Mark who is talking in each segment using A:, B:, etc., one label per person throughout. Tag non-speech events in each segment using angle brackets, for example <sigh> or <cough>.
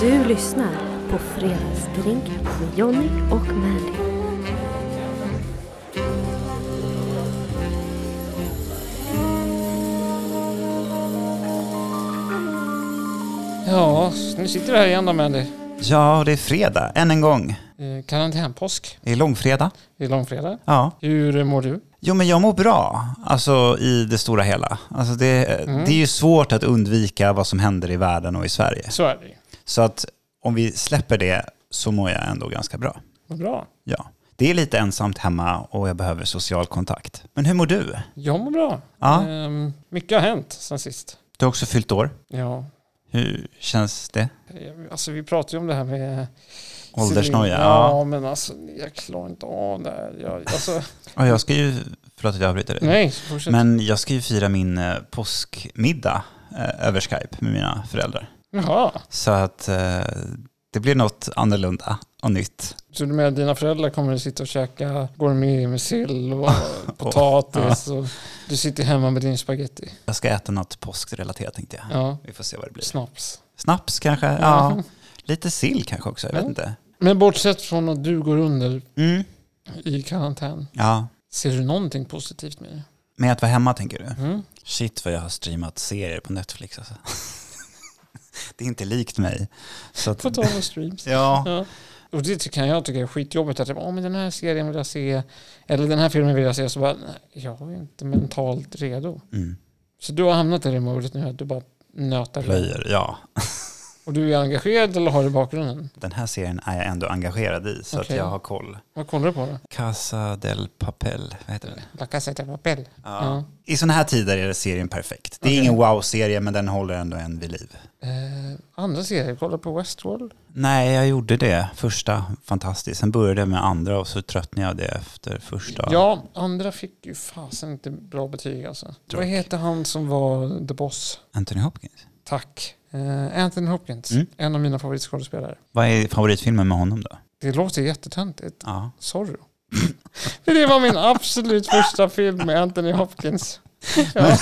A: Du lyssnar på Fredagsdrink med Jonny och Mandy.
B: Ja, nu sitter vi här igen då Mandy.
C: Ja, det är fredag än en gång.
B: Eh, Karantänpåsk.
C: Det är långfredag.
B: Det är långfredag.
C: Ja.
B: Hur mår du?
C: Jo, men jag mår bra, alltså i det stora hela. Alltså, det, det är ju svårt att undvika vad som händer i världen och i Sverige.
B: Så är det ju.
C: Så att om vi släpper det så mår jag ändå ganska bra.
B: Vad bra.
C: Ja. Det är lite ensamt hemma och jag behöver social kontakt. Men hur mår du?
B: Jag mår bra.
C: Ja.
B: Ehm, mycket har hänt sen sist.
C: Du har också fyllt år.
B: Ja.
C: Hur känns det?
B: Eh, Alltså vi pratade ju om det här med...
C: Åldersnoja?
B: Ja,
C: Ja.
B: men alltså jag klarar inte av det här. Jag,
C: <laughs>
B: alltså,
C: ja. Jag ska ju, förlåt att jag avbryter dig.
B: nej, fortsätt.
C: Men jag ska ju fira min eh, påskmiddag eh, över Skype med mina föräldrar.
B: Jaha,
C: Så att eh, det blir något annorlunda och nytt.
B: så du menar dina föräldrar kommer att sitta och käka gourmet med sill
C: <laughs>
B: och <laughs> potatis och du sitter hemma med din spaghetti.
C: Jag ska äta något påskrelaterat tänkte jag.
B: Ja,
C: Vi får se vad det blir.
B: snaps.
C: Snaps kanske? Ja. Lite sill kanske också, jag vet
B: Ja.
C: inte.
B: <laughs> Men bortsett från att du går under
C: Mm.
B: i karantän,
C: Ja.
B: ser du någonting positivt med det?
C: Med att vara hemma tänker du?
B: Mm.
C: Shit vad jag har streamat serier på Netflix alltså. <laughs> Det är inte likt mig. Så att,
B: På tal om streams.
C: ja,
B: Ja. Och det ty- kan jag tycka är skitjobbigt att jag bara, "Åh, men den här serien vill jag se, eller den här filmen vill jag se, så bara, nej, jag är inte mentalt redo.
C: mm.
B: Så du har hamnat i det modet nu att du bara nötar.
C: plöjer, ja.
B: Och du är engagerad eller har det i bakgrunden?
C: Den här serien är jag ändå engagerad i så
B: Okej.
C: att jag har koll.
B: Vad kollar du på då?
C: Casa del Papel, vad heter den?
B: La Casa de Papel.
C: Ja. I sådana här tider är serien perfekt. Det är
B: Okej.
C: ingen wow-serie men den håller ändå en vid liv.
B: Eh, andra serier, kollar på Westworld.
C: Nej, jag gjorde det. Första, fantastiskt. Sen började jag med andra och så tröttnade jag det efter första.
B: Ja, andra fick ju fasen inte bra betyg alltså. Vad
C: Tråkigt.
B: heter han som var The Boss?
C: Anthony Hopkins.
B: Tack. Eh, Anthony Hopkins,
C: Mm.
B: en av mina favoritskådespelare.
C: Vad är favoritfilmen med honom då?
B: Det låter jättetöntigt.
C: Ja.
B: Sorry. <laughs> Men det var min absolut första film med Anthony Hopkins. Ja,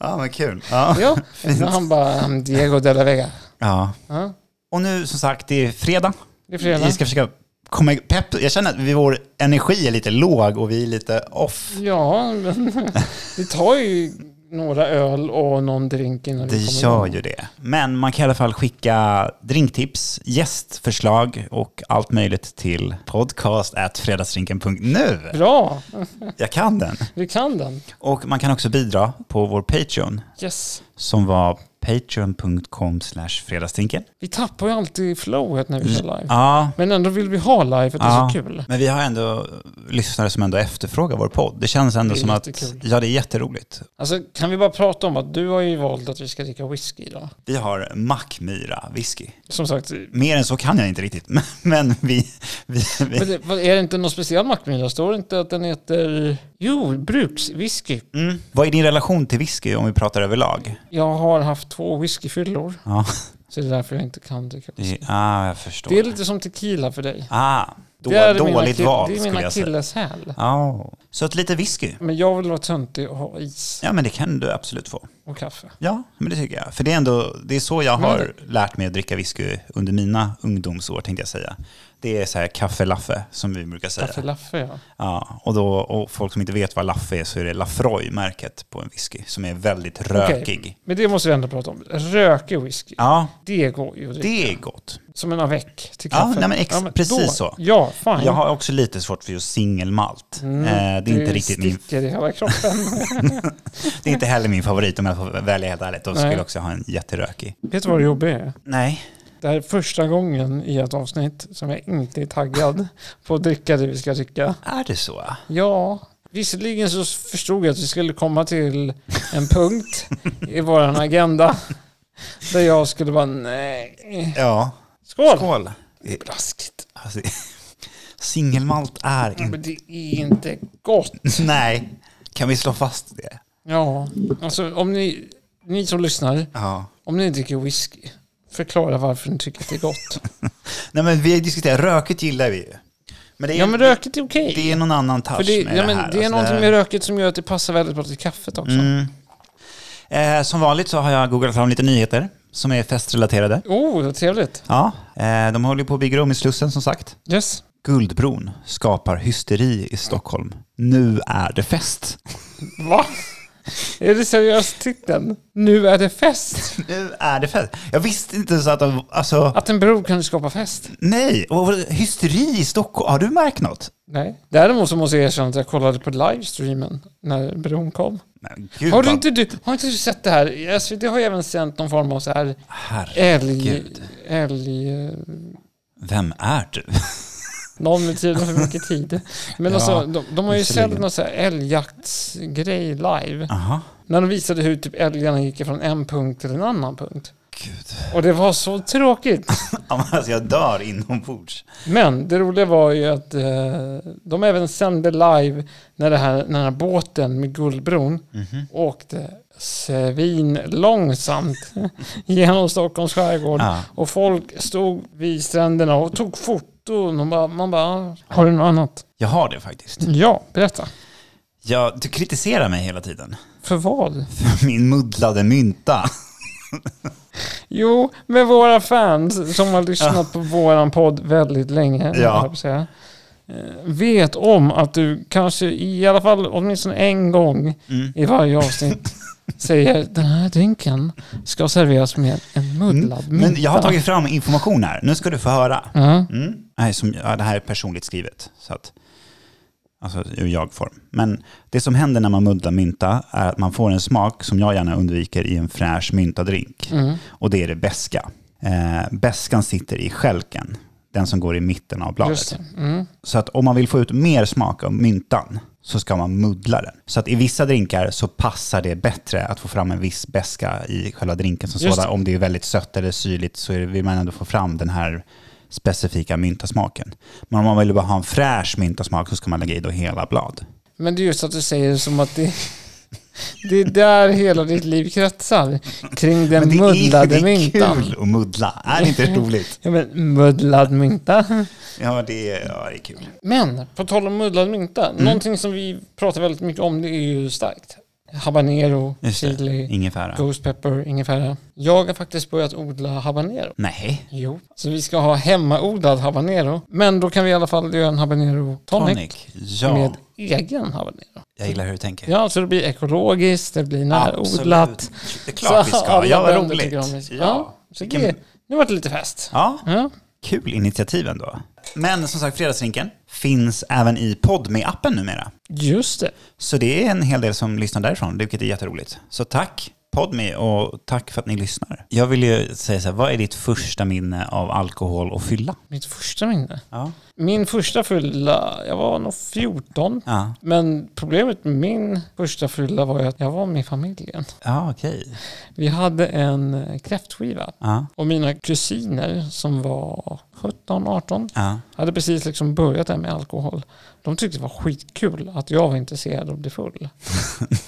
C: Ja, vad kul. Ja.
B: ja. När han bara "Mm, Diego de la Vega.
C: ja.
B: Ja,
C: Och nu som sagt, det är fredag.
B: det är fredag.
C: Vi ska försöka komma igång. Pepp. Jag känner att vi, vår energi är lite låg och vi är lite off.
B: Ja, men <laughs> det tar ju några öl och någon drink innan
C: Det
B: vi kommer
C: gör
B: igång.
C: ju det. Men man kan i alla fall skicka drinktips, gästförslag och allt möjligt till podcast.fredagsdrinken.nu.
B: Bra,
C: Jag kan den.
B: vi kan den.
C: Och man kan också bidra på vår Patreon
B: Yes.
C: som var patreon.com fredagsdrinken.
B: Vi tappar ju alltid flowet när vi kör live.
C: Ja,
B: Men ändå vill vi ha live, för det är
C: Ja.
B: så kul.
C: men vi har ändå lyssnare som ändå efterfrågar vår podd. Det känns ändå
B: Det är
C: som att,
B: jättekul.
C: ja det är jätteroligt.
B: Alltså, kan vi bara prata om att du har ju valt att vi ska dricka whisky idag.
C: Vi har Mackmyra whisky.
B: Som sagt,
C: Mer än så kan jag inte riktigt, <laughs> men, men vi, vi,
B: men
C: vi...
B: det, vad- är det inte någon speciell Macmillan? Står det inte att den heter... Jo, brukswhisky.
C: Mm. Vad är din relation till whisky om vi pratar överlag?
B: Jag har haft två whiskyfyllor,
C: Ja,
B: så det är därför jag inte kan dricka
C: det,
B: whisky.
C: ah, jag förstår.
B: Det är lite som tequila för dig.
C: ah, då,
B: det är mina
C: dåligt
B: kill-
C: val
B: Det är
C: skulle
B: mina
C: jag säga.
B: killes häl.
C: Ja, Så att lite whisky,
B: Men jag vill vara töntig och ha is
C: ja men det kan du absolut få.
B: och kaffe.
C: Ja, men det tycker jag. För det är ändå, det är så jag har lärt mig att dricka whisky under mina ungdomsår tänkte jag säga. Det är så här kaffelaffe som vi brukar säga.
B: Kaffe laffe, ja.
C: Ja, och, då, och folk som inte vet vad laffe är så är det Lafroy-märket på en whisky som är väldigt
B: Okej.
C: rökig.
B: Men det måste vi ändå prata om. Rökig whisky.
C: Ja,
B: Det går ju att dricka.
C: det är gott.
B: Som en avec till
C: Ja,
B: kaffe.
C: nej, men ex- precis så.
B: Ja, fine.
C: Jag har också lite svårt för just singelmalt.
B: Mm,
C: eh, det är inte riktigt min,
B: sticker i hela kroppen.
C: det är inte heller min favorit om jag får välja helt ärligt. Då skulle
B: Nej.
C: jag också ha en jätterökig.
B: Vet du vad det jobbiga är?
C: Nej,
B: Det här är första gången i ett avsnitt som jag inte är taggad på att dricka det vi ska dricka.
C: är det så?
B: Ja, visserligen så förstod jag att vi skulle komma till en punkt i vår agenda där jag skulle vara nej.
C: Ja.
B: Skål!
C: Skål!
B: Blaskigt.
C: Alltså, <laughs> singelmalt är inte...
B: Men det är inte gott.
C: Nej, kan vi slå fast det?
B: Ja, alltså om ni, ni som lyssnar,
C: Ja.
B: om ni dricker whisky, förklara varför ni tycker att det är gott.
C: Nej men vi diskuterar, röket gillar vi ju. Men det är,
B: Ja men röket är okej.
C: det är någon annan touch
B: För det,
C: med
B: ja,
C: det
B: men
C: här.
B: det är
C: alltså,
B: någonting
C: här-
B: med röket som gör att det passar väldigt bra till kaffet också.
C: Mm. Eh, som vanligt så har jag googlat fram lite nyheter som är festrelaterade.
B: Oh, vad trevligt.
C: Ja, eh, de håller ju på att bygga om i Slussen som sagt.
B: Yes.
C: Guldbron skapar hysteri i Stockholm. Nu är det fest.
B: Va? Är det seriöst titeln? Nu är det fest.
C: <laughs> Nu är det fest. Jag visste inte så att de, alltså,
B: Att en bro kan skapa fest.
C: nej. Och vad- Hysteri i Stockholm, har du märkt något?
B: Nej. Däremot så måste jag erkänna att jag kollade på livestreamen när bron kom.
C: Nej, gud,
B: Har, du
C: vad-
B: inte, du, har inte du sett det här? SVT har ju även sänt någon form av så här älg...
C: Herregud.
B: älg eh,
C: Vem är du? <laughs>
B: någon med tiden för mycket tid. Men
C: Ja,
B: alltså, de, de har ju
C: visserligen.
B: sänt någon så här älgjaktsgrej live.
C: Aha.
B: När de visade hur typ älgarna gick från en punkt till en annan punkt.
C: Gud. <laughs>
B: Och det var så tråkigt.
C: Ja, men Alltså, jag dör inombords.
B: Men det roliga var ju att eh, de även sände live när, det här, när den här båten med Guldbron åkte svinlångsamt <laughs> genom Stockholms skärgård.
C: Ja.
B: Och folk stod vid stränderna och tog foton. Och bara, man bara, har du något annat?
C: Jag har det faktiskt.
B: Ja, berätta.
C: Jag, du kritiserar mig hela tiden. <laughs>
B: För vad?
C: För min muddlade mynta.
B: Jo, med våra fans som har lyssnat på våran podd väldigt länge, höll jag på att säga, eh, vet om att du kanske i alla fall åtminstone en gång
C: Mm.
B: i varje
C: <laughs>
B: avsnitt säger den här drinken ska serveras med en muddlad mynta.
C: Mm. Men jag har tagit fram information här. Nu ska du få höra.
B: Ja.
C: Mm. Nej, som, ja, det här är personligt skrivet. Så att, alltså ur jag-form. Men det som händer när man muddlar mynta är att man får en smak som jag gärna undviker i en fräsch myntadrink.
B: Mm.
C: Och det är det beska. Eh, beskan sitter i skälken, den som går i mitten av bladet.
B: Just det. Mm.
C: Så att om man vill få ut mer smak av myntan så ska man muddla den. Så att i vissa drinkar så passar det bättre att få fram en viss beska i själva drinken som
B: Just
C: sådan. Om det är väldigt sött eller syrligt så är det, vill man ändå få fram den här specifika myntasmaken. Men om man vill bara ha en fräsch myntasmak så ska man lägga i då hela blad.
B: Men det är just att du säger som att det, <laughs> det är där hela ditt liv kretsar. Kring den
C: det är, <laughs> det
B: muddlade
C: är
B: myntan.
C: kul att muddla. Är
B: <laughs>
C: det inte roligt?
B: Ja, men muddlad mynta.
C: Ja, det är, ja, det är kul.
B: Men på tal om muddlad mynta,
C: Mm.
B: någonting som vi pratar väldigt mycket om det är ju starkt. Habanero,
C: Just det.
B: chili,
C: Ingefära.
B: ghost pepper, ingefära. Jag har faktiskt börjat odla habanero.
C: Nej.
B: Jo, så vi ska ha hemmaodlad habanero. Men då kan vi i alla fall göra en habanero tonic,
C: Tonic. Ja,
B: med egen habanero.
C: jag gillar hur du tänker.
B: Ja, så det blir ekologiskt, det blir närodlat.
C: Absolut. Det är klart vi
B: Så <laughs> alla
C: ska. Ja, vad
B: bönder
C: roligt.
B: tycker om det. Ja,
C: Ja.
B: så
C: Vilken-
B: det, nu vart det lite fest.
C: Ja,
B: Ja.
C: kul initiativ ändå. Men som sagt, Fredagsrinken finns även i Podme-appen numera.
B: Just det.
C: Så det är en hel del som lyssnar därifrån, vilket är jätteroligt. Så tack Podme och tack för att ni lyssnar. Jag vill ju säga så här, vad är ditt första minne av alkohol och fylla?
B: Mitt första minne.
C: Ja.
B: Min första fylla, jag var nog 14.
C: Ja,
B: Men problemet med min första fylla var ju att jag var med familjen.
C: ja okej.
B: Vi hade en eh, kräftskiva
C: Ja,
B: och mina kusiner som var 17-18
C: ja.
B: hade precis liksom börjat där med alkohol. De tyckte det var skitkul att jag var intresserad av att bli full.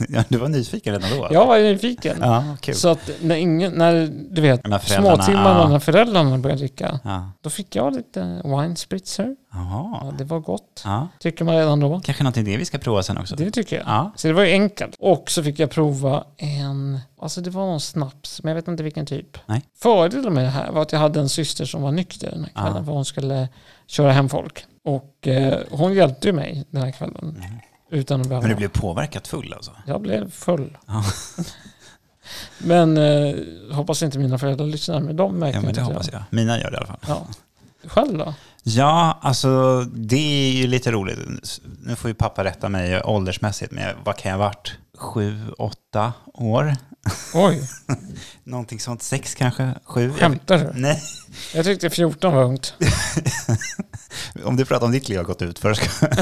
C: ja du var nyfiken redan då?
B: Jag var ju nyfiken.
C: Ja, kul.
B: Så att när, ingen, när du vet,
C: När föräldrarna-
B: småtimmarna
C: ja.
B: när föräldrarna började dricka,
C: Ja,
B: då fick jag lite wine spritzer. Ja,
C: jaha.
B: det var gott,
C: Ja.
B: tycker man redan då.
C: Kanske någonting det vi ska prova sen också?
B: Det tycker jag.
C: Ja.
B: Så det var ju enkelt. Och så fick jag prova en, alltså det var någon snaps, men jag vet inte vilken typ.
C: Nej. Ah.
B: Fördelen med det här var att jag hade en syster som var nykter den här kvällen, för hon skulle köra hem folk. Och eh, hon hjälpte ju mig den här kvällen. Utan att behöva.
C: Mm. Men du blev påverkat full alltså?
B: Jag blev full.
C: Ja.
B: <laughs> men eh, hoppas inte mina föräldrar lyssnar, men de märker
C: Ja, men det
B: inte att
C: hoppas jag. Mina gör det i alla fall.
B: Ja. Själv då?
C: Ja, alltså det är ju lite roligt. Nu får ju pappa rätta mig åldersmässigt, men jag- vad kan jag ha varit? Sju, åtta år?
B: Oj,
C: Någonting sånt. Sex kanske? Sju? Jag-
B: skämtar du?
C: Nej,
B: Jag tyckte 14 var ungt.
C: om du pratar om ditt liv har gått ut för <laughs> ska...
B: Det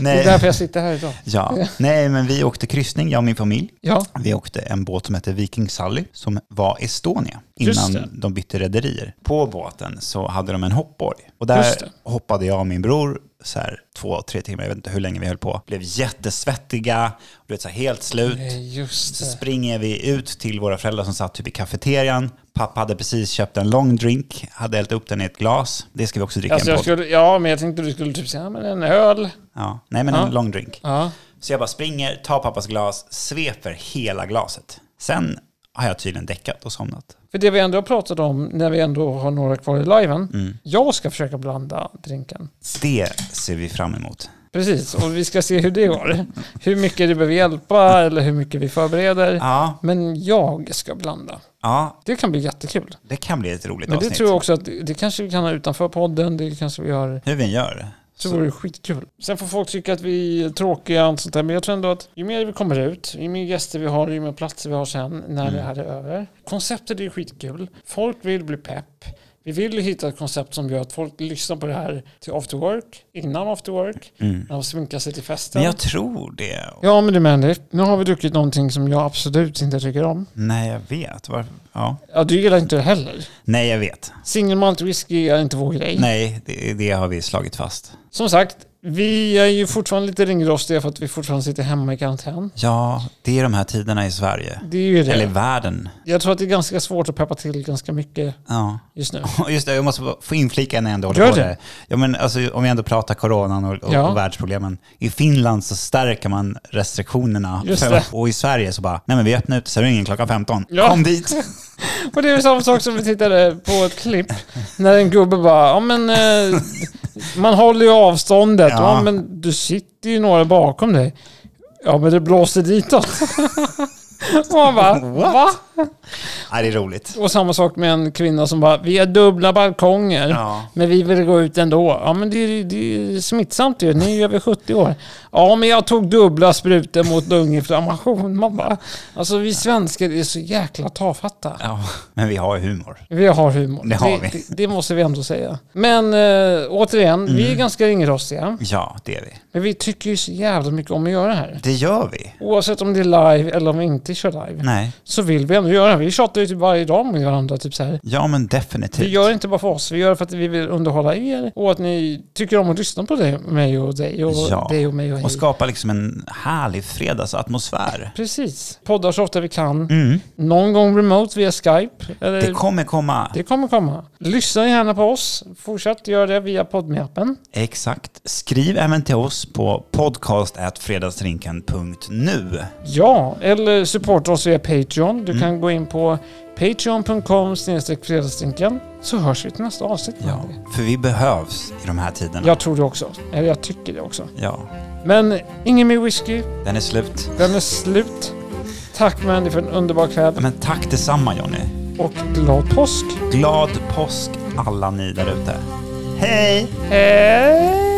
B: är
C: Nej.
B: därför jag sitter här idag.
C: Ja. Nej, men vi åkte kryssning, jag och min familj.
B: Ja,
C: Vi åkte en båt som hette Viking Sally som var Estonia
B: Just
C: innan
B: det.
C: de bytte rederier. På båten så hade de en hoppborg och där
B: Just det.
C: hoppade jag och min bror så här två, tre timmar, jag vet inte hur länge vi höll på. Blev jättesvettiga, du vet så här helt slut.
B: eh, just
C: Så
B: det.
C: springer vi ut till våra föräldrar som satt typ i kafeterian. Pappa hade precis köpt en long drink, hade hällt upp den i ett glas. Det ska vi också dricka
B: Alltså
C: i en
B: jag
C: podd.
B: skulle, ja, men jag tänkte du skulle typ säga, ja, men en öl.
C: Ja. Nej men
B: Ja.
C: en long drink.
B: Ja.
C: Så jag bara springer, tar pappas glas, sveper hela glaset. Sen har jag tydligen däckat och somnat.
B: För det vi ändå har pratat om, när vi ändå har några kvar i liven, jag ska försöka blanda drinken.
C: Det ser vi fram emot.
B: Precis, och vi ska se hur det går. Hur mycket det behöver hjälpa eller hur mycket vi förbereder.
C: Ja,
B: Men jag ska blanda.
C: ja
B: Det kan bli jättekul.
C: det kan bli ett roligt
B: Men det
C: avsnitt.
B: tror jag också att det kanske vi kan ha utanför podden, det kanske vi har
C: Hur vi än gör.
B: Så
C: Så-
B: vore det skitkul. Sen får folk tycka att vi är tråkiga och allt sånt där. Men jag tror ändå att ju mer vi kommer ut, ju mer gäster vi har, ju mer platser vi har sen när det här är över. Konceptet är ju skitkul. Folk vill bli pepp. Vi vill ju hitta ett koncept som gör att folk lyssnar på det här till after work, innan after work,
C: Mm.
B: när de sminkar sig till festen.
C: Men jag tror det.
B: Ja men du Mandy, nu har vi druckit någonting som jag absolut inte tycker om.
C: Nej, jag vet. Var... Ja.
B: Ja, du gillar inte det heller.
C: Nej, jag vet.
B: Single malt whisky är inte vår grej.
C: Nej, det, det har vi slagit fast.
B: Som sagt, vi är ju fortfarande lite ringrostiga för att vi fortfarande sitter hemma i karantän.
C: Ja, det är de här tiderna i Sverige.
B: Det är ju det.
C: Eller världen.
B: Jag tror att det är ganska svårt att peppa till ganska mycket
C: Ja.
B: just nu.
C: Och Just det, jag måste få inflika när jag ändå håller
B: Gör
C: på
B: det.
C: där. Ja, men alltså, om vi ändå pratar coronan och, och,
B: Ja.
C: och världsproblemen. I Finland så stärker man restriktionerna.
B: Just det.
C: Och i Sverige så bara, nej men vi öppnar uteserveringen klockan 15.
B: Ja. <laughs>
C: Kom dit!
B: Och det är ju samma sak som vi tittade på ett klipp när en gubbe bara, ja men eh, man håller ju avståndet. Ja.
C: Ja.
B: men du sitter ju några bakom dig. Ja men det blåser ditåt. <laughs> Och man bara, va?
C: Nej, det är roligt.
B: Och samma sak med en kvinna som bara, vi har dubbla balkonger.
C: Ja.
B: Men vi vill gå ut ändå. Ja men det är, det är smittsamt ju, ni är ju över 70 år. Ja men jag tog dubbla sprutor mot lunginflammation. Man bara, alltså vi svenskar är så jäkla tafatta.
C: Ja, men vi har ju humor.
B: Vi har humor.
C: Det har vi.
B: Det, det, måste vi ändå säga. Men eh, återigen, vi
C: Mm.
B: är ganska ringrostiga.
C: Ja, det är vi.
B: Men vi tycker ju så jävla mycket om att göra det här.
C: Det gör vi.
B: Oavsett om det är live eller om vi inte kör live.
C: Nej.
B: Så vill vi ändå göra det. Vi tjatar ju typ varje dag med varandra. Typ så här.
C: Ja, men
B: Vi
C: definitivt.
B: gör det inte bara för oss, vi gör det för att vi vill underhålla er och att ni tycker om att lyssna på dig, mig och dig och
C: Ja.
B: dig och mig och hej.
C: Och skapa liksom en härlig
B: Eh,
C: fredagsatmosfär.
B: Precis. Poddar så ofta vi kan.
C: Mm.
B: Någon gång remote via Skype. Eller...
C: Det kommer komma.
B: det kommer komma. Lyssna gärna på oss. Fortsätt göra det via podmappen.
C: Exakt. Skriv även till oss på podcast.fredagsdrinken.nu.
B: Ja, eller supporta oss via Patreon.
C: Mm.
B: Du kan gå in på patreon.com fredagsdrinken så hörs vi till nästa avsnitt.
C: Ja, för vi behövs i de här tiderna.
B: Jag tror det också. Eller jag tycker det också.
C: Ja,
B: Men ingen mer whisky.
C: den är slut.
B: Den är slut. Tack Mandy för en underbar kväll
C: Men tack detsamma Jonny.
B: och glad påsk.
C: Glad påsk alla ni där ute. Hej!
B: Hej!